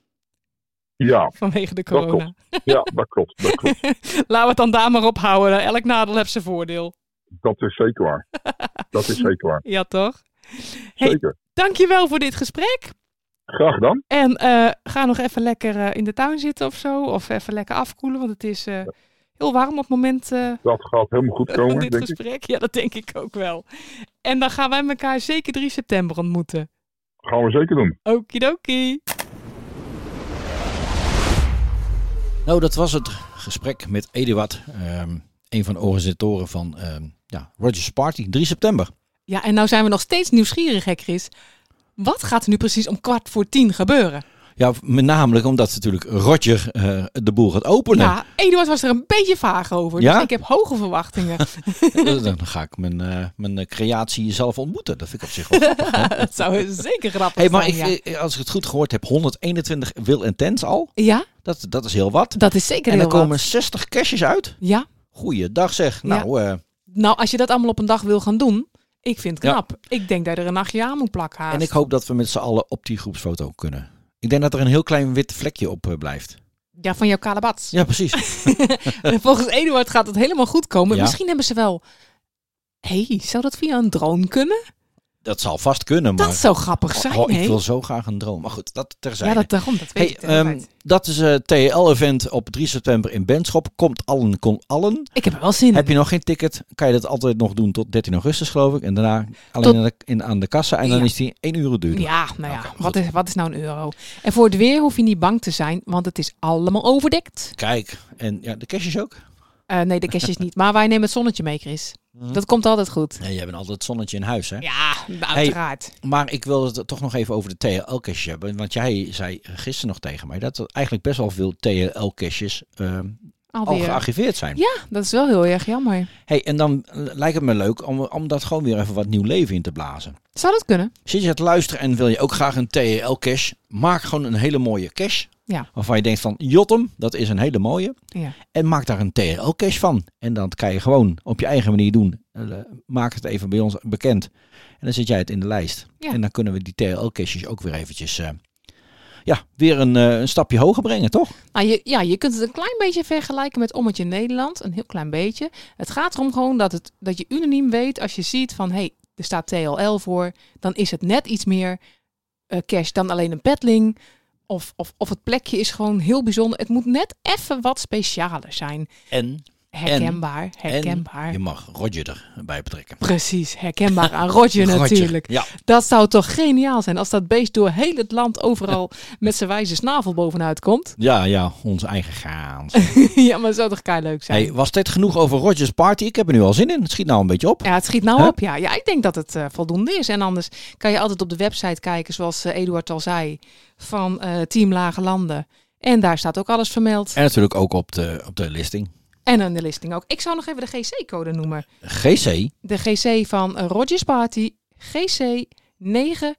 Ja,
Vanwege de
Dat
corona.
ja dat klopt. Dat, klopt.
Laten we het dan daar maar op houden. Elk nadeel heeft zijn voordeel.
dat is zeker waar. Dat is zeker waar.
Ja, toch? Hey.
Zeker.
Dankjewel voor dit gesprek.
Graag gedaan.
En eh, ga nog even lekker eh, in de tuin zitten of zo. Of even lekker afkoelen, want het is eh, heel warm op het moment eh,
Dat gaat helemaal goed
van
komen,
dit
denk ik.
gesprek. Ja, dat denk ik ook wel. En dan gaan wij elkaar zeker 3 september ontmoeten.
Gaan we zeker doen.
Okidoki.
Nou, dat was het gesprek met Eduard, ehm, een van de organisatoren van ehm, ja, Rogers Party, 3 september.
Ja, en nou zijn we nog steeds nieuwsgierig, hè Chris. Wat gaat er nu precies om kwart voor tien gebeuren?
Ja, met namelijk omdat natuurlijk Roger eh, de boel gaat openen.
Ja, Eduard was er een beetje vaag over.
Ja?
Dus ik heb hoge verwachtingen.
Eh, Dan ga ik mijn, eh, mijn eh, creatie zelf ontmoeten. Dat vind ik op zich wel grappig. hè?
dat zou zeker grappig
Hey, maar
zijn.
ik,
ja.
eh, als ik het goed gehoord heb, 121 wil en tents al.
ja,
Dat, dat is heel wat.
dat is zeker
En er
heel
komen
wat.
60 caches uit.
Ja,
Goeiedag zeg. Nou, eh,
Nou, als je dat allemaal op een dag wil gaan doen, ik vind het
Ja.
knap. Ik denk dat je er een nachtje aan moet plakken haast.
en ik hoop dat we met z'n allen op die groepsfoto kunnen. Ik denk dat er een heel klein wit vlekje op eh, blijft.
Ja, van jouw kalebats.
Ja, precies.
En Volgens Eduard gaat het helemaal goed komen.
Ja.
Misschien hebben ze wel... Hé, hey, zou dat via een drone kunnen?
Dat zal vast kunnen, maar...
dat zou grappig zijn,
Oh, ik
hè?
wil zo graag een droom. Maar goed, dat terzijde.
Ja, dat, daarom, dat weet
Hey,
ik. de hele
ehm,
tijd.
dat is een TL-event op 3 september in Benschop. Komt allen, kom allen.
Ik heb er wel zin in.
Heb je nog geen ticket, kan je dat altijd nog doen tot 13 augustus, geloof ik. En daarna alleen
Tot-
aan, de, in, aan de kassa. En dan
Ja.
is die 1 euro duurder.
Ja, nou ja,
Oké, maar
wat, is, wat is nou een euro? En voor het weer hoef je niet bang te zijn, want het is allemaal overdekt.
Kijk, en ja, de cash is ook.
Eh, nee, de kerstjes niet, maar wij nemen het zonnetje mee, Chris. Dat komt altijd goed.
Nee, jij bent altijd het zonnetje in huis, hè?
Ja, uiteraard.
Maar ik wil het toch nog even over de TL-caches hebben. Want jij zei gisteren nog tegen mij dat er eigenlijk best wel veel TL-caches ehm, al
Alweer.
gearchiveerd zijn.
Ja, dat is wel heel erg jammer.
Hey, en dan eh, lijkt het me leuk om, om dat gewoon weer even wat nieuw leven in te blazen.
Zou dat kunnen?
Zit je te luisteren en wil je ook graag een TL-cache? Maak gewoon een hele mooie cache.
Ja.
Waarvan je denkt van, Jotem, dat is een hele mooie.
Ja.
En maak daar een TRL-cache van. En dat kan je gewoon op je eigen manier doen. Eh, maak het even bij ons bekend. En dan zet jij het in de lijst.
Ja.
En dan kunnen we die TRL-caches ook weer eventjes... eh, ja, weer een, eh, een stapje hoger brengen, toch?
Nou, je, ja, je kunt het een klein beetje vergelijken met Ommetje Nederland. Een heel klein beetje. Het gaat erom gewoon dat, het, dat je unaniem weet als je ziet van... hé, hey, er staat TLL voor. Dan is het net iets meer eh, cash dan alleen een petling. Of, of, of het plekje is gewoon heel bijzonder. Het moet net even wat specialer zijn.
En,
Herkenbaar,
en
herkenbaar.
je mag Roger erbij betrekken.
Precies, herkenbaar aan Roger
Roger,
natuurlijk.
Ja,
Dat zou toch geniaal zijn als dat beest door heel het land overal met zijn wijze snavel bovenuit komt.
ja, ja, onze eigen gaans.
ja, maar dat zou toch kei leuk zijn.
Hey, was dit genoeg over Rogers Party? Ik heb er nu al zin in. Het schiet nou een beetje op.
Ja, het schiet nou
Hè?
op. Ja. ja, ik denk dat het eh, voldoende is. En anders kan je altijd op de website kijken, zoals eh, Eduard al zei, van eh, Team Lage Landen. En daar staat ook alles vermeld.
En natuurlijk ook op de, op de listing.
En in de listing ook. Ik zou nog even de GC-code noemen.
GC
De GC van eh, Rogers Party, GC 9FVJZ.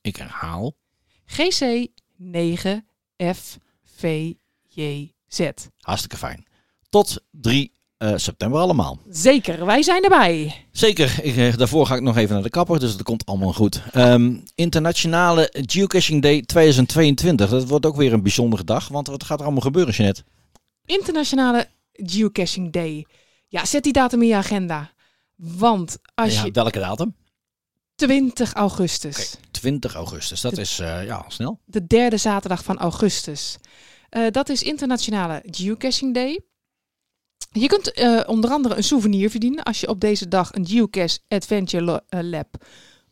Ik herhaal.
GC 9 F V J Z.
Hartstikke fijn. Tot 3 eh, september allemaal.
Zeker, wij zijn erbij.
Zeker, ik, eh, daarvoor ga ik nog even naar de kapper, dus dat komt allemaal goed. Ehm, Internationale Geocaching Day 2022. Dat wordt ook weer een bijzondere dag, want wat gaat er allemaal gebeuren, Jeanette?
Internationale Geocaching Day. Ja, zet die datum in je agenda. Want als
Ja,
je
welke datum?
20 augustus.
20 augustus, dat is eh, ja, snel.
de derde zaterdag van augustus. Eh, dat is Internationale Geocaching Day. Je kunt eh, onder andere een souvenir verdienen als je op deze dag een Geocache Adventure lo- eh, Lab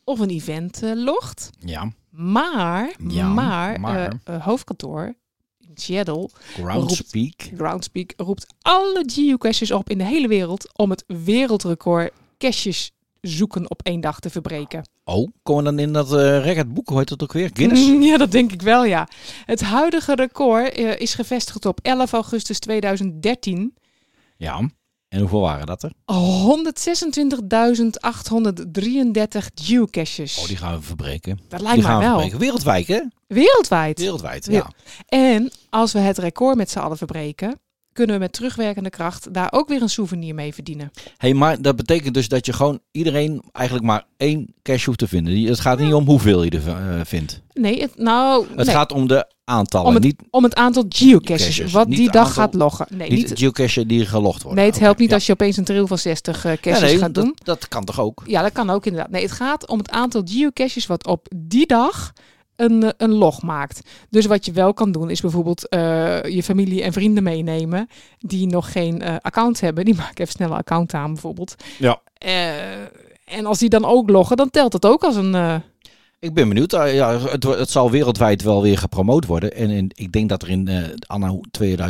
of een event eh, logt.
Ja,
Maar,
Ja,
maar,
maar.
eh, eh, hoofdkantoor in Seattle,
Groundspeak.
Groundspeak, roept alle geocaches op in de hele wereld om het wereldrecord caches zoeken op één dag te verbreken.
Oh, komen we dan in dat eh recordboek, hoe heet dat ook weer? Guinness?
Ja, dat denk ik wel, ja. Het huidige record eh, is gevestigd op 11 augustus 2013.
Ja. En hoeveel waren dat er?
126.833 geocaches.
Oh, die gaan we verbreken.
dat
die
lijkt mij
gaan we
wel.
verbreken. Wereldwijd, hè?
Wereldwijd.
Wereldwijd, ja.
Ja. En als we het record met z'n allen verbreken, kunnen we met terugwerkende kracht daar ook weer een souvenir mee verdienen.
hey, maar dat betekent dus dat je gewoon iedereen eigenlijk maar één cash hoeft te vinden. Die- Het gaat niet om hoeveel je er eh, vindt.
Nee, het, nou,
Het
nee.
gaat om de aantallen,
Om
niet,
om het aantal geocaches,
Geocaches,
wat
niet
die
het
dag
aantal-
gaat loggen. Nee,
niet
niet,
de geocache die gelogd worden.
nee het
Oké,
helpt niet
ja.
als je opeens een trail van 60 eh caches
Ja, nee,
gaat
dat,
doen.
Dat kan toch ook?
Ja, dat kan ook inderdaad. Nee, het gaat om het aantal geocaches wat op die dag een, eh, een log maakt. Dus wat je wel kan doen is bijvoorbeeld eh, je familie en vrienden meenemen die nog geen eh, account hebben. Die maken even snel een account aan bijvoorbeeld.
Ja.
Eh, en als die dan ook loggen, dan telt dat ook als een... eh,
Ik ben benieuwd. Ah, Ja, het, wo- het zal wereldwijd wel weer gepromoot worden. En in- ik denk dat er in eh, anno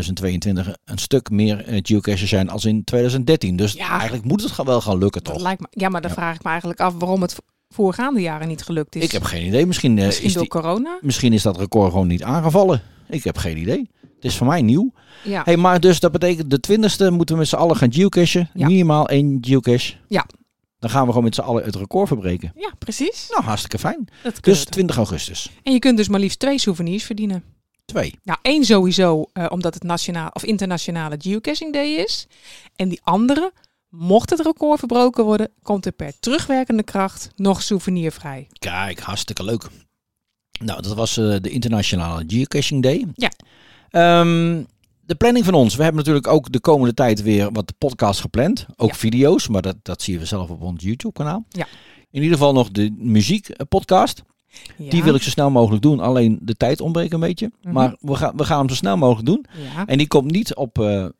2022 een stuk meer eh, geocaches zijn als in 2013. Dus
Ja.
eigenlijk moet het gaan- wel gaan lukken,
dat
toch?
lijkt me, ja, maar dan
Ja.
vraag ik me eigenlijk af waarom het v- voorgaande jaren niet gelukt is.
Ik heb geen idee. Misschien, eh,
Misschien
is
door
die-
corona?
misschien is dat record gewoon niet aangevallen. Ik heb geen idee. Het is voor mij nieuw.
Ja.
Hey, maar dus dat betekent de 20e moeten we met z'n allen gaan geocachen.
Ja.
Minimaal één geocache.
Ja.
Dan gaan we gewoon met z'n allen het record verbreken.
ja, precies.
Nou, hartstikke fijn.
dat kunnen
Dus
we doen.
20 augustus.
En je kunt dus maar liefst twee souvenirs verdienen.
Twee.
Nou, één sowieso eh, omdat het nationaal of internationale geocaching day is. En die andere, mocht het record verbroken worden, komt er per terugwerkende kracht nog souvenir vrij.
Kijk, hartstikke leuk. Nou, dat was eh, de Internationale Geocaching Day.
Ja.
Ehm, de planning van ons. We hebben natuurlijk ook de komende tijd weer wat podcasts gepland. Ook
Ja.
video's, maar dat, dat zien we zelf op ons YouTube-kanaal.
Ja.
In ieder geval nog de muziekpodcast.
Ja,
Die wil ik zo snel mogelijk doen. Alleen de tijd ontbreekt een beetje.
Mhm.
Maar we, gaan we gaan hem zo snel mogelijk doen.
Ja,
En die komt niet op eh, eh,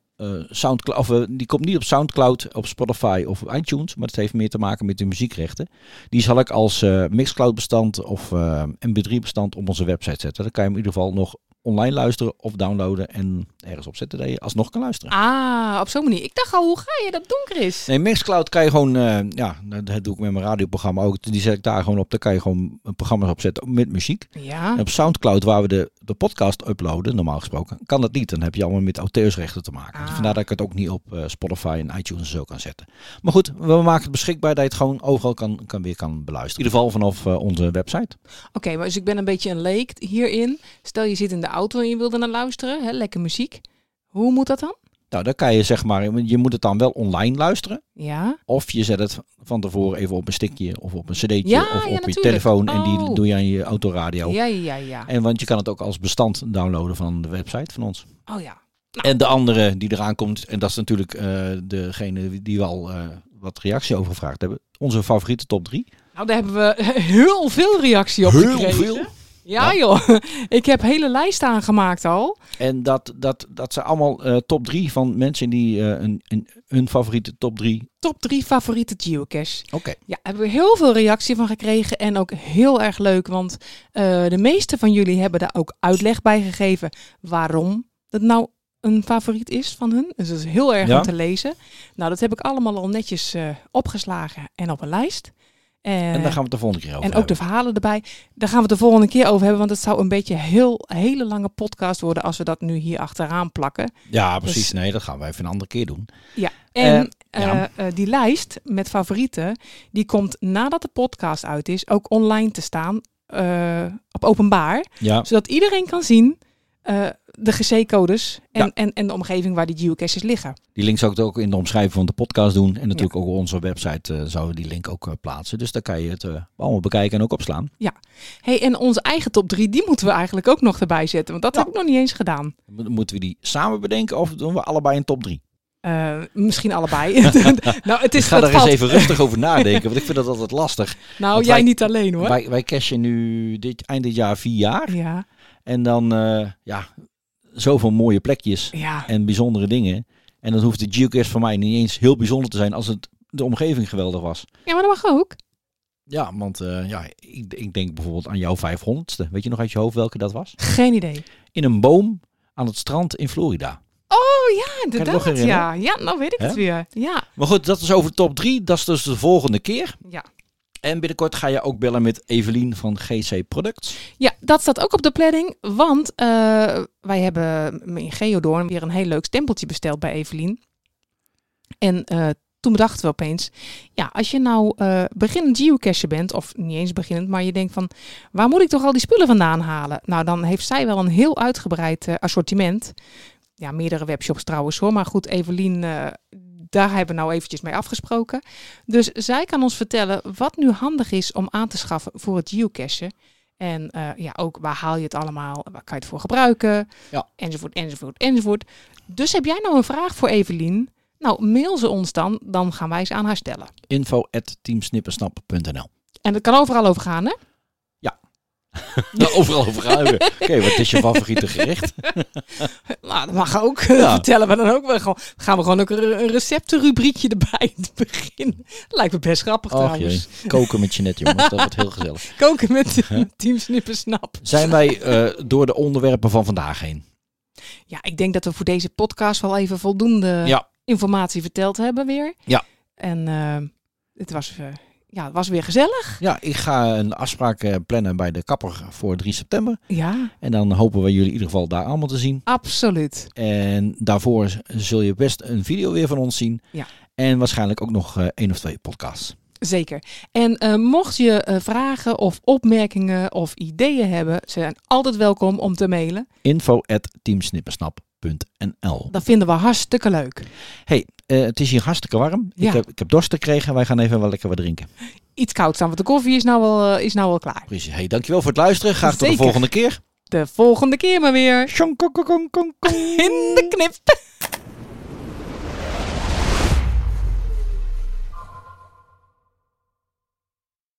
Soundcloud, of, eh, die komt niet op Soundcloud, op Spotify of op iTunes, maar het heeft meer te maken met de muziekrechten. Die zal ik als eh, Mixcloud-bestand of eh, MP3-bestand op onze website zetten. Dan kan je hem in ieder geval nog online luisteren of downloaden en ergens op zetten dat je alsnog kan luisteren.
Ah, op zo'n manier. Ik dacht al, hoe ga je dat doen, Chris?
Nee, Mixcloud kan je gewoon, eh, ja, dat doe ik met mijn radioprogramma ook. Die zet ik daar gewoon op. Daar kan je gewoon programma's op zetten met muziek.
Ja,
En op Soundcloud, waar we de, de podcast uploaden, normaal gesproken, kan dat niet. Dan heb je allemaal met auteursrechten te maken. Dus
Ah.
Vandaar dat ik het ook niet op eh, Spotify en iTunes en zo kan zetten. Maar goed, we maken het beschikbaar dat je het gewoon overal kan, kan weer kan beluisteren. In ieder geval vanaf eh, onze website.
oké, maar dus ik ben een beetje een leek hierin. Stel je zit in de auto en je wilde naar luisteren, hè, lekker muziek. Hoe moet dat dan?
Nou, dan kan je zeg maar, je moet het dan wel online luisteren.
Ja,
Of je zet het van tevoren even op een stickje of op een cd'tje
Ja,
of op
ja,
je
natuurlijk.
telefoon. En die
Oh.
doe je aan je autoradio.
ja, ja, ja.
En want je kan het ook als bestand downloaden van de website van ons.
Oh ja.
En de andere die eraan komt, en dat is natuurlijk eh, degene die we al eh, wat reactie over gevraagd hebben. Onze favoriete top drie.
Nou, daar hebben we heel veel reactie op gekregen. Ja,
Ja.
joh. Ik heb hele lijsten aangemaakt al.
En dat, dat, dat zijn allemaal eh, top drie van mensen die eh, een, een, hun favoriete top drie.
Top drie favoriete geocache.
Oké.
Ja, hebben we heel veel reactie van gekregen. En ook heel erg leuk, want eh, de meeste van jullie hebben daar ook uitleg bij gegeven waarom dat nou een favoriet is van hun. Dus dat is heel erg
Ja.
om te lezen. Nou, dat heb ik allemaal al netjes eh, opgeslagen en op een lijst.
En daar gaan we het de volgende keer over
En ook de
hebben.
verhalen erbij. Daar gaan we het de volgende keer over hebben. Want het zou een beetje heel hele lange podcast worden als we dat nu hier achteraan plakken.
Ja, precies.
Dus-
Nee, dat gaan we even een andere keer doen.
En
Eh, ja.
eh, eh, die lijst met favorieten, die komt nadat de podcast uit is, ook online te staan. eh, op openbaar.
Ja,
Zodat iedereen kan zien eh, de GC-codes en,
Ja.
en, en de omgeving waar die geocaches liggen.
die link zou ik ook in de omschrijving van de podcast doen. En natuurlijk ook op onze website eh, zouden we die link ook eh, plaatsen. Dus daar kan je het eh, allemaal bekijken en ook opslaan.
Hey, en onze eigen top 3, die moeten we eigenlijk ook nog erbij zetten. Want dat heb ik nog niet eens gedaan.
Mo- Moeten we die samen bedenken of doen we allebei een top 3?
Eh, misschien allebei. nou, het is
Ik ga
het
daar eens
valt-
even rustig over nadenken, want ik vind dat altijd lastig.
Nou,
want
jij
wij-
niet alleen hoor.
Wij, wij cashen nu dit, eind dit jaar vier jaar.
Ja,
En dan, eh, ja, zoveel mooie plekjes
ja.
en bijzondere dingen. En dan hoeft de geocache voor mij niet eens heel bijzonder te zijn als het de omgeving geweldig was.
ja, maar dat mag ook.
Ja, want eh, ja, ik, ik denk bijvoorbeeld aan jouw 500ste. Weet je nog uit je hoofd welke dat was?
Geen idee.
In een boom aan het strand in Florida.
Oh
nog
ja, inderdaad.
herinneren?
Ja. ja, nou weet ik
Hè?
het weer. Ja,
Maar goed, dat is over top 3. Dat is dus de volgende keer.
ja.
En binnenkort ga je ook bellen met Evelien van GC Products.
Ja, dat staat ook op de planning. Want eh, wij hebben in Geodoorn weer een heel leuk stempeltje besteld bij Evelien. En eh, toen bedachten we opeens, ja, als je nou eh beginnend geocacher bent, of niet eens beginnend, maar je denkt van, waar moet ik toch al die spullen vandaan halen? Nou, dan heeft zij wel een heel uitgebreid eh, assortiment. Ja, meerdere webshops trouwens hoor, maar goed, Evelien, eh, daar hebben we nou eventjes mee afgesproken. Dus zij kan ons vertellen wat nu handig is om aan te schaffen voor het geocachen. En eh, ja, ook waar haal je het allemaal? Waar kan je het voor gebruiken?
Ja.
Enzovoort, enzovoort, enzovoort. Dus heb jij nou een vraag voor Evelien? Nou, mail ze ons dan. Dan gaan wij ze aan haar stellen.
Info at teamsnippersnap.nl
En het kan overal over gaan, hè?
Nou, Overal over ruimen. Oké, wat is je favoriete gerecht?
Nou, dat mag ook.
Ja.
Vertellen we dan ook wel gewoon. Dan gaan we gewoon ook een een receptenrubriekje erbij in het begin. Lijkt me best grappig
Och
trouwens.
jee, koken met Jeanette jongens, dat wordt heel gezellig.
Koken met Team Snippersnap.
Zijn wij eh, door de onderwerpen van vandaag heen?
Ja, ik denk dat we voor deze podcast wel even voldoende
Ja.
informatie verteld hebben weer.
Ja.
En eh, het, was, eh, ja, het was weer gezellig.
Ja, ik ga een afspraak eh, plannen bij de kapper voor 3 september.
Ja,
En dan hopen we jullie in ieder geval daar allemaal te zien.
absoluut.
En daarvoor z- zul je best een video weer van ons zien.
Ja.
En waarschijnlijk ook nog eh, één of twee podcasts.
Zeker. En eh, mocht je eh, vragen of opmerkingen of ideeën hebben, ze zijn altijd welkom om te mailen.
Info at teamsnippersnap.nl
Dat vinden we hartstikke leuk.
Eh, Het is hier hartstikke warm.
Ja.
Ik, heb, ik heb dorst gekregen. Wij gaan even wel lekker wat drinken.
Iets koud staan, want de koffie is nou wel, eh, is nou wel klaar.
Precies. Hey, dankjewel voor het luisteren. Graag tot
Zeker.
de volgende keer.
De volgende keer maar weer
Tjong, kong, kong, kong, kong, kong.
in de knip.